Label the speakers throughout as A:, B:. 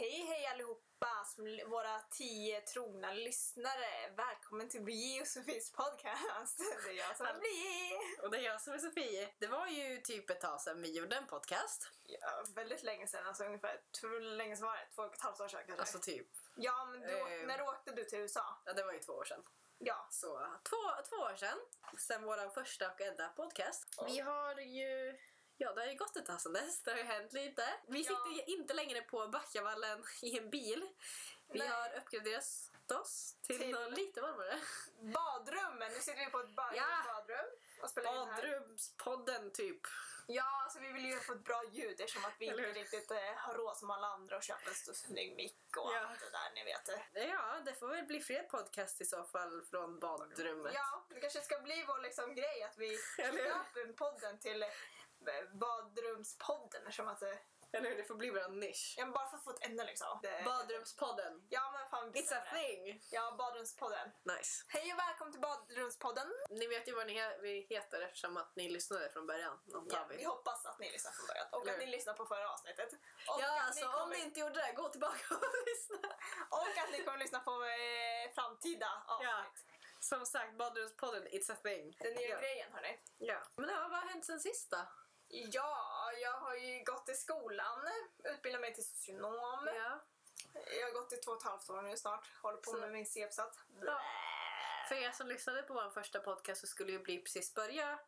A: hej allihopa, som, l- våra tio trogna lyssnare. Välkommen till Bli och Sofies podcast. Det är jag som är Bli.
B: Och det är jag som är Sofie. Det var ju typ ett tag sedan vi gjorde en podcast.
A: Ja, väldigt länge sedan, alltså ungefär, hur länge sedan var det? Två och ett halvt år sedan kanske?
B: Alltså typ,
A: ja, men du, åk-
B: eh,
A: när åkte du till USA?
B: ja det var ju två år sedan.
A: Ja.
B: Så två, två år sedan, sedan vår första och enda podcast. Vi har ju, ja det har ju gått ett tag sedan dess, det har ju hänt lite. Vi
A: Ja.
B: sitter ju inte längre på Backavallen i en bil. Vi
A: Nej.
B: har uppgraderat oss till,
A: Till-
B: något lite varmare.
A: Badrummen! Nu sitter vi på ett ba-
B: Ja.
A: badrum och spelar in här.
B: Badrumspodden typ.
A: Ja, alltså vi vill ju få ett bra ljud eftersom att vi
B: Eller
A: inte
B: hur?
A: riktigt eh, har råd som alla andra och köpa en stor snygg mick och
B: Ja.
A: allt det där, ni vet. det.
B: Ja, det får väl bli fler podcast i så fall från badrummet.
A: Ja, det kanske ska bli vår liksom grej att vi
B: Eller hur?
A: döper podden till eh, badrumspodden eftersom att eh,
B: Eller hur? Det får bli vår nisch.
A: ja, men bara för att få ett ämne liksom. Det-
B: Badrumspodden.
A: Ja, men fan vi
B: It's a
A: bestämmer det.
B: thing!
A: Ja, badrumspodden.
B: Nice.
A: Hej och välkommen till badrumspodden.
B: Ni vet ju vad ni he- vi heter eftersom att ni lyssnade från början. Antar
A: Ja, vi
B: vi.
A: hoppas att ni lyssnar från början och att
B: Eller
A: ni
B: hur?
A: lyssnar på förra avsnittet. Och att
B: Ja, alltså om
A: kommer-
B: ni inte gjorde det, gå tillbaka och lyssna.
A: Och att ni kommer lyssna på eh, framtida
B: Ja.
A: avsnitt.
B: Som sagt, Badrumspodden, it's a thing.
A: Den nya
B: ja.
A: grejen hörni.
B: Ja. Men ja, vad har hänt sen sist då?
A: Ja, jag har ju gått i skolan, utbildat mig till socionom.
B: Ja.
A: Jag har gått i två och ett halvt år nu snart, håller på
B: Så-
A: med min C-uppsats.
B: Ja. För er som lyssnade på vår första podcast så skulle ju Bli precis börja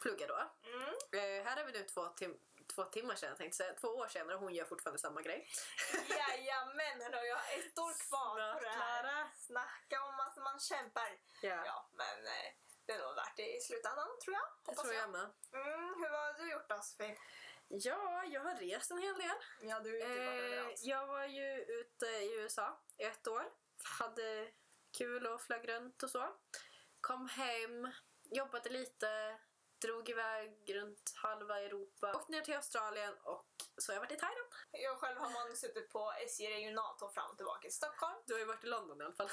B: plugga då.
A: Mm.
B: Eh, här är vi nu två, tim- två timmar sedan, jag tänkte säga. Två år senare och hon gör fortfarande samma grej.
A: Jajamän hörru, jag har ett år kvar på det här.
B: Klara.
A: Snacka om att man kämpar.
B: Ja.
A: Ja, men eh, det är nog värt det i slutändan tror jag.
B: Det
A: Hoppas
B: tror jag med.
A: Mm, hur har du gjort då Sofie?
B: Ja, jag har rest en hel del.
A: Ja, du är ute
B: Eh,
A: överallt.
B: jag var ju ute i USA i ett år. Hade kul och flög runt och så. Kom hem, jobbade lite, drog iväg runt halva Europa. Åkte ner till Australien och så har jag varit i Thailand.
A: Jag själv har man suttit på SJ regionaltåg fram och tillbaka i Stockholm.
B: Du har ju varit i London i alla fall.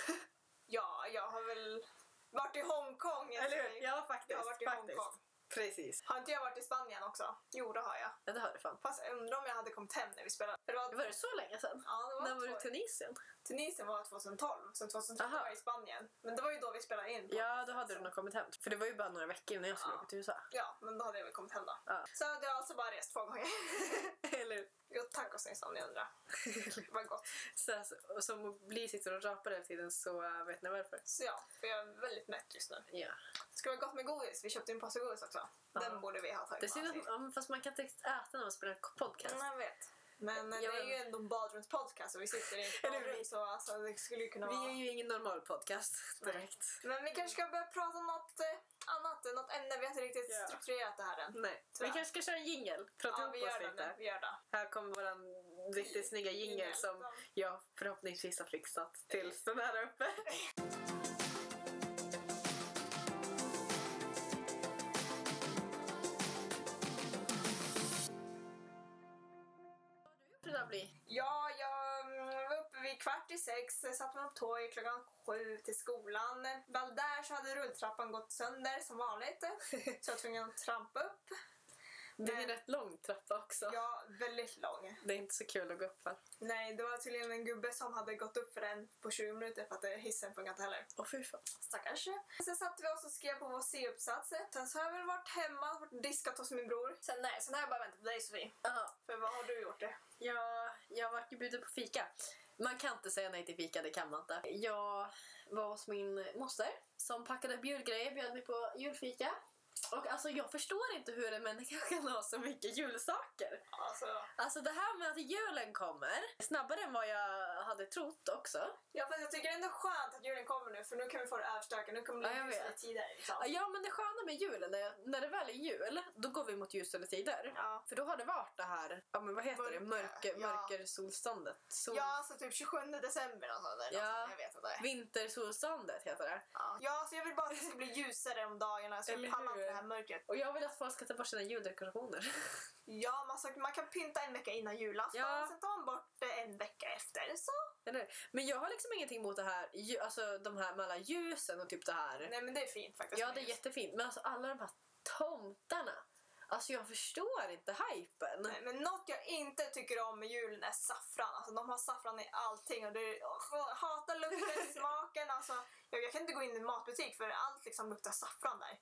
A: Ja, jag har väl varit i Hongkong. Sofie.
B: Ja, faktiskt.
A: Jag har varit i
B: faktiskt.
A: Hongkong.
B: Precis.
A: Har inte jag varit i Spanien också? Jo, det har jag.
B: Ja, det har du fan.
A: Fast jag undrar om jag hade kommit hem när vi spelade. För det var,
B: Var det så länge sedan?
A: Ja, det var,
B: När var du
A: två-
B: i Tunisien?
A: Tunisien var 2012, så 2013
B: Aha.
A: var jag i Spanien. Men det var ju då vi spelade in.
B: Ja, då hade du nog kommit hem. För det var ju bara några veckor innan jag skulle
A: Ja.
B: åka till USA.
A: Ja, men då hade jag väl kommit hem då.
B: Ja.
A: Så jag har alltså bara rest två gånger.
B: Eller hur?
A: jo, tacosnyss om ni undrar. Vad gott.
B: Så, alltså, och som blir sitter och rapar hela tiden så äh, vet ni varför.
A: Så ja, för jag är väldigt mätt just nu.
B: Ja.
A: Ska vara gott med godis. Vi köpte en påse godis också.
B: Ja.
A: Den borde vi ha tagit
B: Det är synd
A: med
B: att,
A: oss.
B: ja, men fast man kan inte riktigt äta när man spelar podcast.
A: Mm, Jag vet. Men eh,
B: Jag
A: det är
B: vet.
A: ju ändå en badrumspodcast och vi sitter i ett
B: Eller hur?
A: badrum så alltså, det skulle ju kunna
B: Vi
A: vara...
B: är ju ingen normal podcast direkt.
A: Men vi kanske ska börja prata om något eh, annat, något ämne. Vi har inte riktigt
B: Ja.
A: strukturerat det här än.
B: Nej.
A: Tyvärr.
B: Vi kanske ska köra en jingel. Prata
A: Ja, vi
B: ihop oss
A: gör det nu.
B: lite.
A: Vi gör det.
B: Här kommer våran riktigt snygga jingel
A: Jingel.
B: som jag förhoppningsvis har fixat tills den här är uppe. Vad har du gjort idag, Bli?
A: Ja, jag mm, var uppe vid kvart i sex, eh, satte mig på tåg klockan sju till skolan. Väl där så hade rulltrappan gått sönder som vanligt, eh, så jag var tvungen att trampa upp.
B: Det är en
A: Men-
B: rätt lång trappa också.
A: Ja, väldigt lång.
B: Det är inte så kul att gå upp för.
A: Nej, det var tydligen en gubbe som hade gått upp för den på 20 minuter för att eh, hissen funkade inte heller.
B: Åh fy fan.
A: Stackars. Sen satt vi oss och skrev på vår C-uppsats. Sen så har jag väl varit hemma, varit diskat hos min bror. Sen, nej, sen har jag bara väntat på dig Sofie.
B: Ja,
A: För vad har du gjort det?
B: jag, jag vart ju bjuden på fika. Man kan inte säga nej till fika, det kan man inte. Jag var hos min moster som packade upp julgrejer, bjöd mig på julfika. Och alltså jag förstår inte hur en människa kan ha så mycket julsaker.
A: Alltså,
B: Alltså det här med att julen kommer, snabbare än vad jag hade trott också.
A: ja, fast jag tycker det är ändå skönt att julen kommer nu för nu kan vi få det överstökat. Nu kommer det
B: Ja, jag
A: bli ljusare
B: vet.
A: tider. Liksom.
B: Ja, Ja men det sköna med julen är att när det väl är jul, då går vi mot ljusare tider.
A: Ja.
B: För då har det varit det här, ja men vad heter det,
A: Mörker,
B: mörker,
A: ja.
B: mörkersolståndet. Sol,
A: Ja, alltså typ 27 december eller sånt där.
B: Ja.
A: någonstans, Jag vet inte.
B: Vintersolståndet heter det.
A: Ja, ja så jag vill bara att det ska bli ljusare om dagarna så
B: Eller
A: jag pallar
B: hur?
A: inte det här mörkret.
B: Och jag vill att folk ska ta bort sina juldekorationer.
A: Ja, man, så, man kan pynta en vecka innan julafton,
B: Ja.
A: sen tar man bort det en vecka efter. Så.
B: Eller? Men jag har liksom ingenting emot det här, ju- alltså de här med alla ljusen och typ det här.
A: Nej men det är fint faktiskt.
B: ja det är jättefint, men alltså alla de här tomtarna. Alltså jag förstår inte hypen.
A: Nej, Men något jag inte tycker om med julen är saffran. Alltså, de har saffran i allting och det är, åh, jag hatar lukten, smaken. Alltså, jag, jag kan inte gå in i en matbutik för allt liksom luktar saffran där.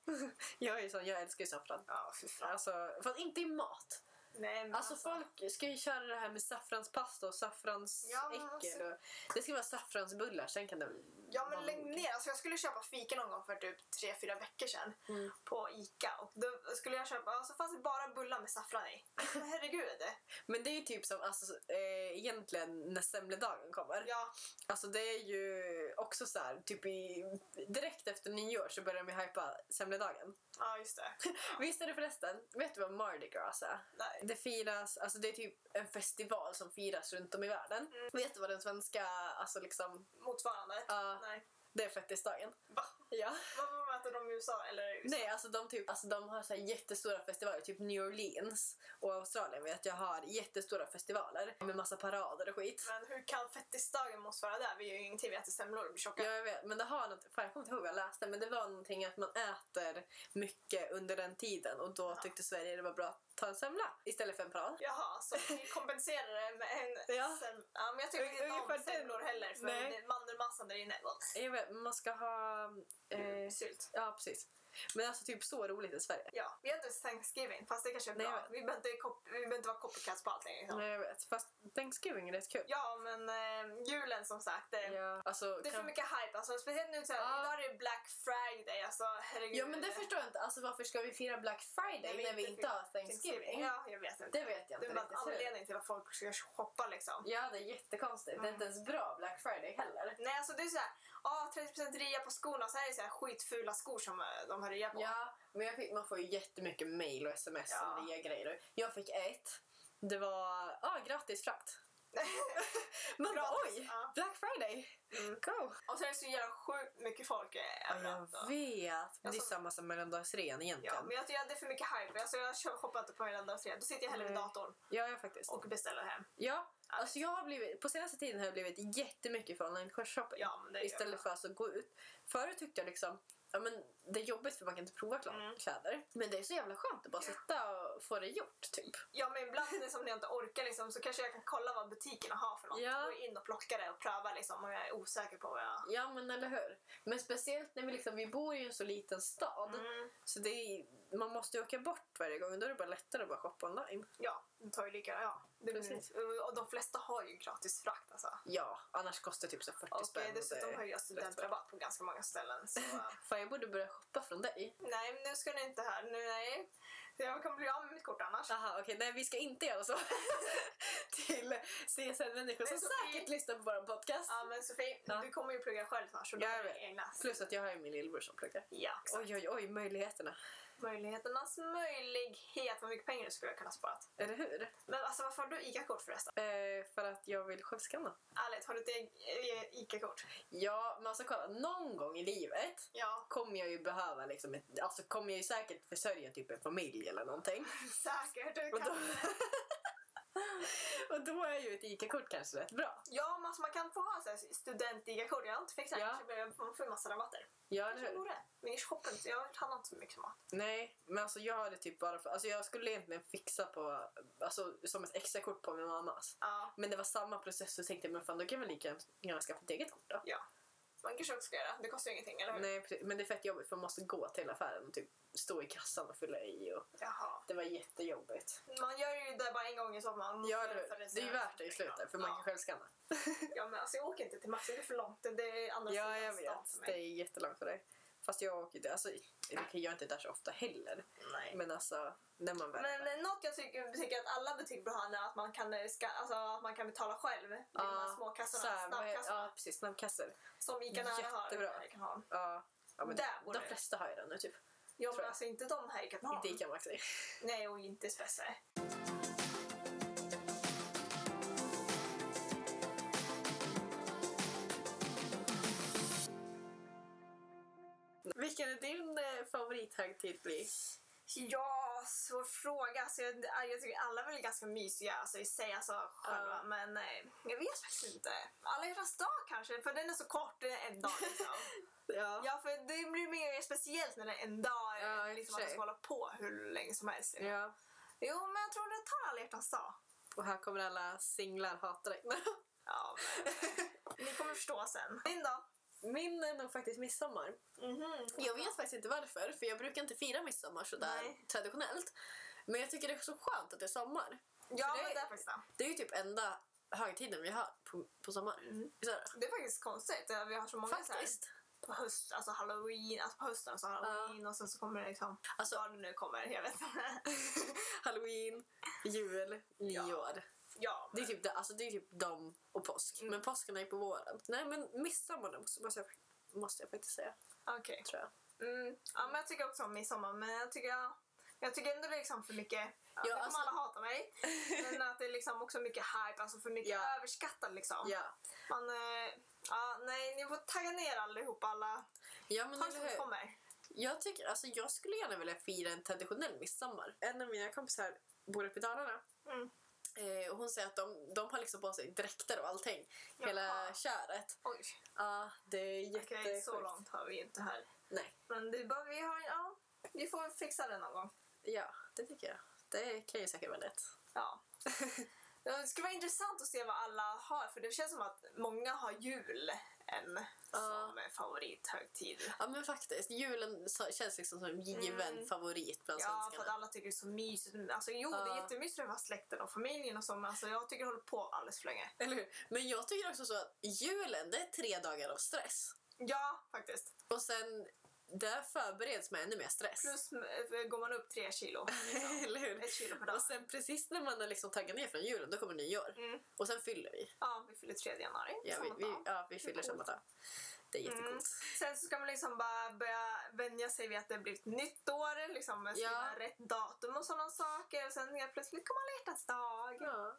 B: Jag är ju sån, jag älskar ju saffran.
A: Ja, fy fan.
B: Alltså, fast inte i mat.
A: Nej, men
B: Alltså folk ska ju köra det här med saffranspasta och
A: Ja, men
B: saffransäckel.
A: alltså-
B: och Det ska vara saffransbullar, sen kan det
A: Ja men
B: vara
A: lägg
B: nog.
A: ner. Alltså, jag skulle köpa fika någon gång för typ tre fyra veckor sedan
B: Mm.
A: på Ica. Och då skulle jag köpa, alltså fanns det bara bullar med saffran i. Men Herregud.
B: Men det är ju typ som alltså, eh, egentligen när semledagen kommer.
A: Ja,
B: Alltså det är ju också så här, typ i, direkt efter nyår så börjar de ju hypa semledagen.
A: ja just det.
B: Visst är det förresten, vet du vad Mardi Gras är?
A: Nej.
B: Det firas, alltså det är typ en festival som firas runt om i världen. Vet du vad den svenska, alltså liksom,
A: Motsvarande.
B: ja,
A: Nej.
B: det är fettisdagen.
A: Va?
B: Ja.
A: Vad vad mäter de i USA? Eller i USA?
B: Nej, alltså de, typ, alltså de har så här jättestora festivaler, typ New Orleans och Australien vet jag har jättestora festivaler med massa parader och skit.
A: Men hur kan fettisdagen motsvara det? Vi gör ju ingenting, vi äter semlor och blir tjocka.
B: Ja, jag vet, men det har något, fan, jag kommer inte ihåg vad jag läste, men det var någonting att man äter mycket under den tiden och då
A: Ja.
B: tyckte Sverige det var bra att ta en semla istället för en parad.
A: Jaha, så vi kompenserar det med en
B: Ja.
A: sem- ja, men jag tycker inte
B: Ungefär
A: om
B: den.
A: semlor heller för
B: Nej.
A: det- mandelmassan där inne.
B: Jag vet, men man ska ha... Eh,
A: Sylt.
B: ja, precis. Men alltså typ så roligt i Sverige.
A: Ja, vi äter Thanksgiving fast det kanske är
B: Nej,
A: bra.
B: jag vet.
A: vi behöver inte, kop- vi behöver inte vara copycats på allting. Liksom.
B: Nej, jag vet. Fast Thanksgiving är rätt kul.
A: Ja, men eh, julen som sagt. Det,
B: Ja. Alltså,
A: det är för
B: kan...
A: mycket hype. Alltså, speciellt nu såhär,
B: Ja.
A: idag är det Black Friday. Alltså, herregud.
B: Ja, men det förstår jag inte. Alltså varför ska vi fira Black
A: När
B: Friday
A: vi
B: när vi
A: inte
B: inte har
A: firar
B: Thanksgiving?
A: Ja, jag vet inte.
B: Det vet jag
A: Det
B: inte
A: är bara en
B: riktigt. hur.
A: anledning till att folk ska shoppa liksom.
B: Ja, det är jättekonstigt. Det är
A: Mm.
B: inte ens bra Black Friday heller.
A: Nej, alltså det är såhär, ah, 30% rea på skorna så här är det såhär skitfula skor som eh, de har rea på.
B: Ja, men jag fick, man får ju jättemycket mail och sms
A: Ja.
B: om nya grejer. Jag fick ett. Det var ah, gratis frakt. Man bara
A: Gratis,
B: oj,
A: ja.
B: Black Friday,
A: Mm.
B: go!
A: Och sen är det så jävla sjukt mycket folk eh, överallt. då.
B: jag vet. Men det är
A: Alltså-
B: samma som mellandagsrean egentligen.
A: Ja, men jag tycker att det är för mycket hype. Alltså, jag kö- shoppar inte på hela dagen. Då sitter jag hellre vid
B: Nej.
A: datorn
B: Ja, ja, faktiskt.
A: och beställer hem.
B: Ja, alltså jag har blivit, på senaste tiden har jag blivit jättemycket för online shopping.
A: Ja, men det gör
B: istället
A: jag.
B: för alltså att gå ut. Förut tyckte jag liksom Ja, men det är jobbigt för man kan inte prova kla-
A: Mm.
B: kläder. Men det är så jävla skönt att bara
A: Ja.
B: sitta och få det gjort. typ.
A: Ja, men ibland liksom, när jag inte orkar liksom, så kanske jag kan kolla vad butikerna har för något.
B: Ja.
A: Gå in och plocka det och pröva liksom, om jag är osäker på vad jag...
B: Ja, men eller hur? Men speciellt när vi liksom, vi bor ju i en så liten stad.
A: Mm.
B: Så det är, man måste ju åka bort varje gång. Då är det bara lättare att bara shoppa online.
A: Ja, det tar ju lika... Ja. Det blir-
B: Precis.
A: Och de flesta har ju gratis frakt alltså.
B: Ja, annars kostar det typ så 40
A: Och
B: spänn.
A: eh, dessutom
B: Det-
A: har jag studentrabatt på ganska många ställen. Så, eh,
B: Fan, jag borde börja shoppa från dig.
A: nej, men nu ska ni inte här. Nu, nej. Jag kommer bli av med mitt kort annars.
B: Aha, okej. Nej, vi ska inte göra så. Till CSN-människor som
A: Nej, Sofie.
B: säkert lyssnar på vår podcast.
A: Ja, men Sofie,
B: Ja.
A: du kommer ju plugga själv snart så du
B: Jag
A: har
B: vet.
A: dina egna.
B: Plus att jag har ju min lillebror som pluggar.
A: Ja, exakt.
B: Oj, oj, oj, möjligheterna.
A: Möjligheternas möjlighet. Vad mycket pengar du skulle ha kunnat spara.
B: Eller hur?
A: Men alltså varför har du ICA-kort förresten?
B: Eh, för att jag vill självskanna.
A: Ärligt, har du ett e- e- ICA-kort?
B: Ja, men alltså kolla. Någon gång i livet
A: Ja,
B: kommer jag ju behöva liksom ett, Alltså kommer jag ju säkert försörja typ en familj eller någonting.
A: säkert. Du
B: Och då,
A: kan...
B: och då är ju ett ICA-kort kanske rätt bra.
A: Ja, men alltså man kan få ha så här student-ICA-kort. Jag har inte fixat det.
B: Ja.
A: Kanske blir jag- man får en massa rabatter.
B: Ja, eller
A: Kanske
B: hur?
A: borde. Men jag shoppar inte. Jag handlar inte så mycket mat.
B: Nej, men alltså jag har det typ bara för... Alltså jag skulle egentligen fixa på... Alltså som ett extra kort på min mammas.
A: Ja.
B: Men det var samma process så tänkte jag men fan då kan jag väl lika gärna skaffa ett eget kort då.
A: Man kanske också ska göra. Det kostar ju ingenting, eller hur?
B: Nej, precis. men det är fett jobbigt för man måste gå till affären och typ stå i kassan och fylla i. Och
A: Jaha.
B: det var jättejobbigt.
A: Man gör ju det bara en gång i sommaren.
B: Ja, eller hur? Det är ju värt det i slutet för man kan
A: ja.
B: själv skanna.
A: ja, men alltså jag åker inte till Max. Det är för långt. Det är andra
B: Ja, jag
A: sidan stan för
B: vet. Det
A: mig.
B: är jättelångt för dig. Fast jag åker ju inte, alltså, jag gör inte det där så ofta heller.
A: Nej.
B: Men alltså, när man väl...
A: Men eh, något jag tycker, tycker att alla butiker bör ha är att man kan, eh, ska, alltså, att man kan betala själv. Det är de här
B: så
A: småkassorna,
B: här, vad he-
A: snabbkassorna.
B: Ja, precis. Snabbkassor.
A: Som Ica Nära har. eh,
B: Jättebra.
A: Kan ha.
B: Ja. Ja, men
A: Där borde
B: de
A: det.
B: flesta har ju den nu typ.
A: Ja,
B: Tror
A: men
B: jag.
A: alltså inte de här i Katrineholm.
B: Inte Ica Maxi.
A: Nej, och inte Spesse.
B: Vilken är din eh, favorithögtidlig?
A: Ja, svår fråga. Alltså, jag, jag tycker alla är väl ganska mysiga alltså, i sig, alltså, själva.
B: Ja.
A: Men eh, jag vet faktiskt inte. Alla hjärtans dag kanske, för den är så kort. Det är en dag liksom.
B: Ja.
A: ja, för det blir mer speciellt när det är en dag.
B: Ja, i och
A: liksom, att
B: för
A: man
B: sig.
A: ska hålla på hur länge som helst. Liksom.
B: ja.
A: Jo, men jag tror det tar alla hjärtans dag.
B: Och här kommer alla singlar hata dig.
A: Ja, men, ni kommer förstå sen. Din dag?
B: Min är nog faktiskt midsommar.
A: Mhm.
B: Jag vet faktiskt inte varför, för jag brukar inte fira midsommar sådär
A: Nej.
B: traditionellt. Men jag tycker det är så skönt att det är sommar.
A: Ja,
B: det-
A: men det är faktiskt det.
B: Det är ju typ enda högtiden vi har på, på sommaren.
A: Mm.
B: Visst är det?
A: Det är faktiskt konstigt. eh, Vi har så många så här,
B: Faktiskt.
A: på höst, alltså halloween, alltså på hösten så halloween och sen så kommer det liksom
B: Alltså-
A: vad det nu kommer, jag vet inte.
B: Halloween, jul, nyår.
A: ja,
B: Det är typ, det, alltså det är typ dem och påsk.
A: Mm.
B: Men påsken är ju på våren. Nej men midsommar måste, måste, jag, måste jag faktiskt säga.
A: okej.
B: Tror jag.
A: Mm. Ja, men jag tycker också om midsommar men jag tycker, jag tycker ändå det är liksom för mycket, ja, nu kommer
B: alltså-
A: alla hata mig, men att det är liksom också mycket hype, alltså för mycket
B: Ja.
A: överskattat liksom.
B: Ja.
A: Man, eh, ja, nej, ni får tagga ner allihopa alla,
B: Ja, men
A: ta det
B: eller
A: som det
B: hur?
A: kommer.
B: Jag, tycker, alltså, jag skulle gärna vilja fira en traditionell midsommar. En av mina kompisar bor uppe i Dalarna.
A: Mm.
B: Eh, och hon säger att de, de har liksom på sig dräkter och allting. Hela
A: Jaha.
B: köret.
A: Oj,
B: Ja, det är jättesjukt.
A: okej, så långt har vi inte här.
B: Nej.
A: Men det är bara, vi har, ja, vi får fixa det någon gång.
B: Ja, det tycker jag. Det kan ju säkert vara lätt.
A: Ja. Det skulle vara intressant att se vad alla har för det känns som att många har jul än som favorithögtid.
B: Ja, men faktiskt. Julen så- känns liksom som en given
A: Mm.
B: favorit bland
A: Ja, för att
B: svenskarna.
A: alla tycker det är så mysigt. Alltså, jo, det
B: Ja.
A: är jättemysigt att vara släkten och familjen och så, men alltså, jag tycker det håller på alldeles för länge.
B: Eller hur? Men jag tycker också så att julen, det är tre dagar av stress.
A: Ja, faktiskt.
B: Och sen, där förbereds man ännu mer stress.
A: Plus eh, går man upp tre kilo. Liksom.
B: Eller hur?
A: Ett kilo per dag.
B: Och sen precis när man har liksom taggat ner från julen, då kommer nyår.
A: Mm.
B: Och sen fyller vi.
A: Ja, vi fyller 3 januari.
B: Ja,
A: samma
B: vi, vi,
A: dag.
B: ja, vi fyller
A: coolt.
B: samma dag. Det är jättecoolt.
A: Mm. Sen så ska man liksom bara börja vänja sig vid att det blir ett nytt år, liksom med
B: Ja.
A: sina rätt datum och sådana saker. Och sen helt plötsligt kommer alla hjärtans dag.
B: Ja.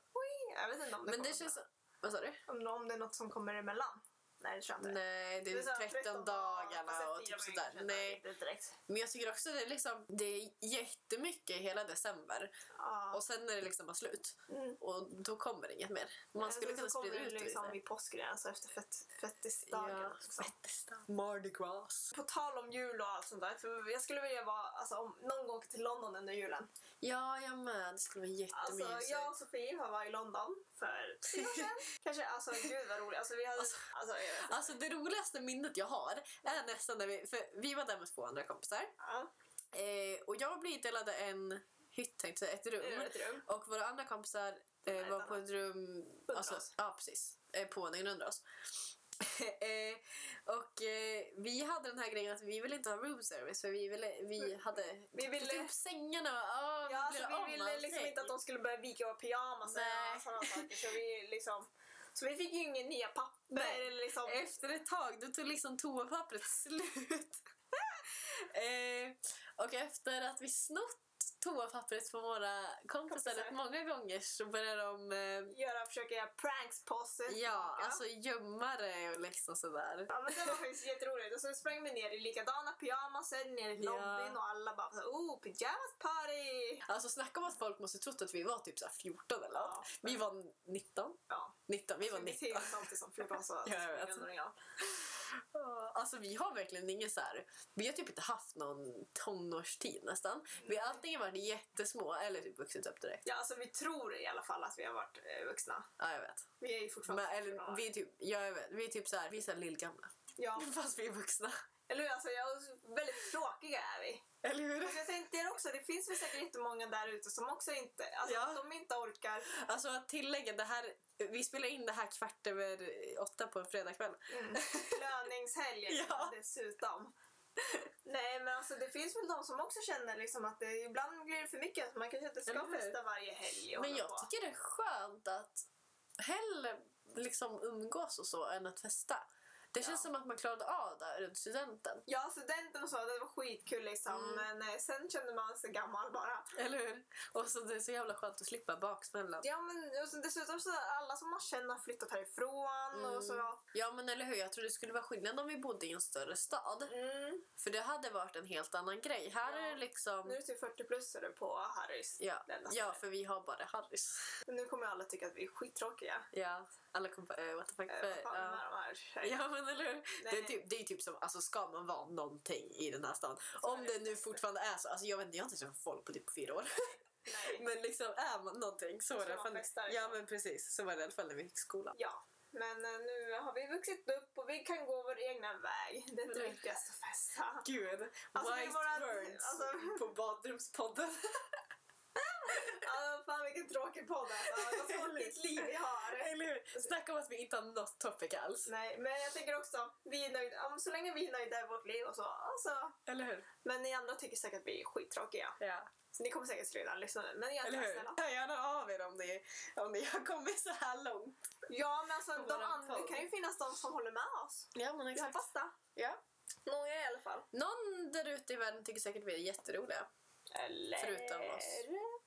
A: Jag vet inte om det
B: Men det
A: kommer
B: känns... Vad sa du?
A: Om, om det är något som kommer emellan. Nej, det tror jag inte.
B: Nej, det
A: Det är så här
B: är 13
A: fast
B: dagarna
A: jag
B: och
A: firar
B: typ
A: mig
B: sådär.
A: kanske inte
B: Nej.
A: riktigt direkt.
B: Men jag tycker också det är liksom, det är jättemycket i hela december.
A: Ja.
B: Och sen är det liksom bara slut.
A: Mm.
B: Och då kommer det inget mer. Man
A: Men
B: skulle
A: sen
B: kunna
A: så kommer
B: sprida
A: det
B: ut det
A: liksom
B: lite.
A: vid påsken, alltså efter fett, fettisdagen.
B: Ja,
A: liksom.
B: Mardi Gras.
A: På tal om jul och allt sånt där. För jag skulle vilja vara, alltså, om någon gång åker till London under julen.
B: Ja, jag med. Det skulle vara
A: Alltså,
B: jättemysigt.
A: jag och Sofie har varit i London för tre år sedan. Kanske, alltså gud vad roligt. Alltså, vi hade, alltså, jag vet inte.
B: Alltså det roligaste minnet jag har är nästan när vi, för vi var där med två andra kompisar
A: Ja,
B: eh, och jag blev tilldelad en hytt, tänkte jag säga, ett
A: det var
B: rum.
A: ett rum.
B: Och våra andra kompisar eh, var på ett rum,
A: Under
B: alltså,
A: oss.
B: ja precis, eh, på våningen under oss. eh, och eh, vi hade den här grejen att vi ville inte ha room service för vi ville, vi hade
A: Vi Mm. ville-
B: typ sängarna och ah,
A: Ja, alltså,
B: om
A: vi ville liksom
B: allting.
A: inte att de skulle börja vika våra pyjamasar
B: Nej.
A: och sådana saker. Så vi, liksom, så vi fick ju inga nya papper.
B: Nej.
A: Eller liksom,
B: Efter ett tag då tog liksom toapappret slut. eh, och efter att vi snott toapappret från våra kompisar
A: Kompisar.
B: rätt många gånger så började de eh,
A: göra, försöka göra pranks på oss.
B: ja, alltså gömma det och liksom sådär.
A: Ja, men det var faktiskt jätteroligt. Och så sprang vi ner i likadana pyjamasar ner i
B: Ja.
A: lobbyn och alla bara så, oh, pyjamas party!
B: Alltså snacka om att folk måste trott att vi var typ så här 14 eller något.
A: Ja. Typ
B: Vi var 19.
A: Ja,
B: 19, vi var
A: så vi
B: 19.
A: till samtidigt som 14 så
B: Ja, jag vet.
A: småningom.
B: Alltså vi har verkligen ingen så här. Vi har typ inte haft någon tonårstid nästan. Vi har antingen varit jättesmå eller typ vuxit upp direkt.
A: Ja, alltså vi tror i alla fall att vi har varit eh, vuxna.
B: Ja, jag vet.
A: Vi är ju fortfarande
B: Men, eller,
A: fyra
B: vi
A: år.
B: är typ, ja, jag vet, vi är typ så här, vi är så här lillgamla.
A: Ja,
B: Fast vi är vuxna.
A: eller hur? Alltså, jag, väldigt tråkiga är vi.
B: Eller hur?
A: Alltså, jag tänkte också, det finns väl säkert jättemånga där ute som också inte, alltså
B: Ja.
A: att de inte orkar.
B: Alltså att tillägga, det här, vi spelar in det här kvart över åtta på en fredagkväll.
A: Mm. Löningshelger
B: Ja.
A: dessutom. Nej men alltså det finns väl de som också känner liksom att det, ibland blir det för mycket. Alltså, man kanske inte
B: Eller
A: ska
B: hur?
A: festa varje helg och
B: Men
A: hålla
B: jag
A: på.
B: tycker det är skönt att hellre liksom umgås och så än att festa. Det känns som att man klarade av det runt studenten.
A: Ja, studenten och så, det var skitkul liksom.
B: Mm.
A: Men eh, sen kände man sig gammal bara.
B: Eller hur? Och så det är så jävla skönt att slippa baksmällan.
A: Ja, men och så, dessutom så har alla som man känner har flyttat härifrån och så.
B: Mm. Ja men eller hur, jag tror det skulle vara skillnad om vi bodde i en större stad.
A: Mm.
B: För det hade varit en helt annan grej. Här
A: Ja.
B: är det liksom...
A: Nu alltså. är det typ 40 plus är det på Harrys.
B: Ja.
A: Det enda
B: ja,
A: stället.
B: för vi har bara Harrys.
A: Men nu kommer ju alla tycka att vi är skittråkiga.
B: Ja, alla kom på... eh, what the fuck.
A: Eh, vad fan
B: ja.
A: är de här tjejerna?
B: Ja men eller hur? Det är
A: Nej.
B: typ, det är typ som, alltså ska man vara någonting i den här stan?
A: Så
B: Om
A: är det.
B: det nu fortfarande är så. Alltså jag vet inte, jag har inte träffat folk på typ fyra år.
A: Nej.
B: Men liksom är man någonting så
A: Så
B: var det i
A: man
B: alla
A: festar,
B: fall. Ja
A: liksom.
B: men precis, så var det i alla fall när vi gick i skolan.
A: Ja. Men eh, nu har vi vuxit upp och vi kan gå vår egna väg. Det är inte
B: Eller-
A: viktigast att festa.
B: Gud,
A: Alltså, det är
B: wise
A: bara-
B: words
A: alltså-
B: på badrumspodden.
A: Alltså, fan vilken tråkig podd alltså. Vad tråkigt liv vi har.
B: Eller hur? Snacka om att vi inte har något topic alls.
A: Nej, men jag tänker också, vi är nöjda, om, så länge vi är nöjda i vårt liv och så. Alltså,
B: Eller hur?
A: men ni andra tycker säkert att vi är skittråkiga.
B: Ja.
A: Så ni kommer säkert redan lyssna nu. Men jag
B: Eller hur?
A: snälla.
B: Hör gärna av er om ni, om ni har kommit så här långt.
A: Ja, men alltså
B: På
A: de
B: våran
A: andra, det
B: podd.
A: kan ju finnas de som håller med oss.
B: Ja men
A: Vi hoppas det.
B: Ja.
A: Några i alla fall.
B: Någon där ute i världen tycker säkert vi är jätteroliga.
A: Eller?
B: Förutom oss.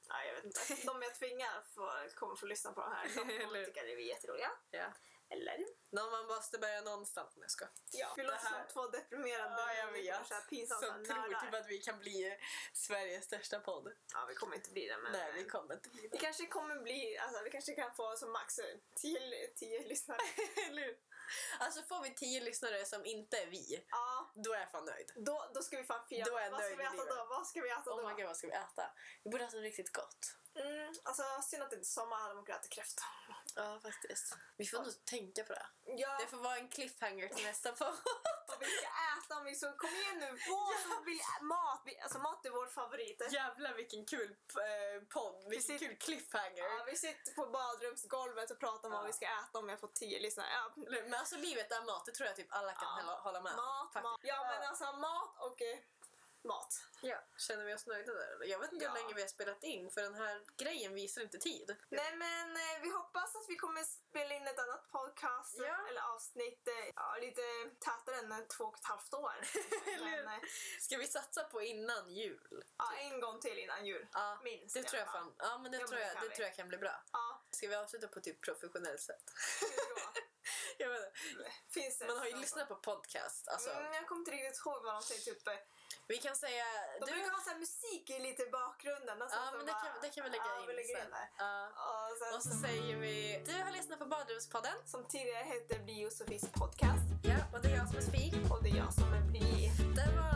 A: Ja, jag vet inte. De jag tvingar får, kommer få lyssna på de här. De
B: Eller-
A: kommer tycka att vi är jätteroliga.
B: Ja.
A: Eller?
B: Någon man måste börja någonstans. Nej, jag skojar.
A: Ja. Vi
B: Det
A: låter som
B: här-
A: två deprimerade
B: Ja, jag
A: människor,
B: vet.
A: Så här pinsamt så här
B: Som tror typ
A: nördar.
B: att vi kan bli Sveriges största podd.
A: Ja, vi kommer inte bli det men...
B: Nej, vi kommer inte bli
A: Det
B: det.
A: kanske kommer bli, alltså vi kanske kan få som max 10, 10 lyssnare.
B: Eller hur? Alltså får vi tio lyssnare som inte är vi,
A: Ja,
B: då är jag fan nöjd.
A: då, då ska vi fan fira.
B: Då är jag
A: Vad ska
B: nöjd
A: vi
B: i
A: äta
B: livet.
A: då? Vad ska vi äta
B: Oh my
A: då?
B: god, vad ska vi äta? Vi borde äta något riktigt gott.
A: Mm, alltså synd att det inte är sommar, hade man kunnat äta kräfta.
B: Ja, faktiskt. Vi får nog tänka på det.
A: Ja,
B: Det får vara en cliffhanger till nästa podd.
A: och vi ska äta om vi så, kom igen nu, vår som vill ä- mat, vi, alltså mat är vår favorit.
B: Jävlar vilken kul eh, podd, vilken
A: sitter-
B: kul cliffhanger.
A: Ja, vi sitter på badrumsgolvet och pratar om
B: Ja.
A: vad vi ska äta om vi har fått 10 lyssnare. Ja,
B: Eller, Men alltså livet är mat, det tror jag typ alla kan
A: Ja.
B: hålla- hålla med om,
A: mat,
B: faktiskt.
A: mat. Ja men alltså mat och eh, mat.
B: Ja, känner vi oss nöjda där eller? Jag vet inte hur
A: Ja.
B: länge vi har spelat in för den här grejen visar inte tid.
A: Nej men eh, vi hoppas att vi kommer spela in ett annat podcast eh,
B: Ja.
A: eller avsnitt eh, ja, lite tätare än eh, två och ett halvt år.
B: Eller hur?
A: men, eh,
B: Ska vi satsa på innan jul?
A: ja, en gång till innan jul.
B: Ja,
A: Minst
B: det
A: i alla
B: tror jag
A: fall.
B: fan. Ja, men det,
A: Ja, men
B: tror,
A: det
B: jag,
A: kan
B: det
A: vi.
B: tror jag kan bli bra.
A: Ja,
B: Ska vi avsluta på typ professionellt sätt?
A: hur då?
B: jag vet inte.
A: Finns det
B: Man har ju
A: någon
B: lyssnat på podcast. Alltså,
A: sån? Mm, jag kommer inte riktigt ihåg vad de säger. Typ, eh,
B: Vi kan säga...
A: de
B: du-
A: brukar ha så här musik i lite i bakgrunden. och sen
B: Ja,
A: så
B: men det
A: bara-
B: kan, det kan vi lägga
A: ja,
B: in
A: vi lägger
B: sen.
A: in där.
B: Ja.
A: Och sen,
B: Och så säger vi... Du har lyssnat på Badrumspodden.
A: som tidigare hette Bli och Sofies podcast.
B: Ja, och det är jag som är Sofie.
A: Och det är jag som är Bli.
B: Det var Eh,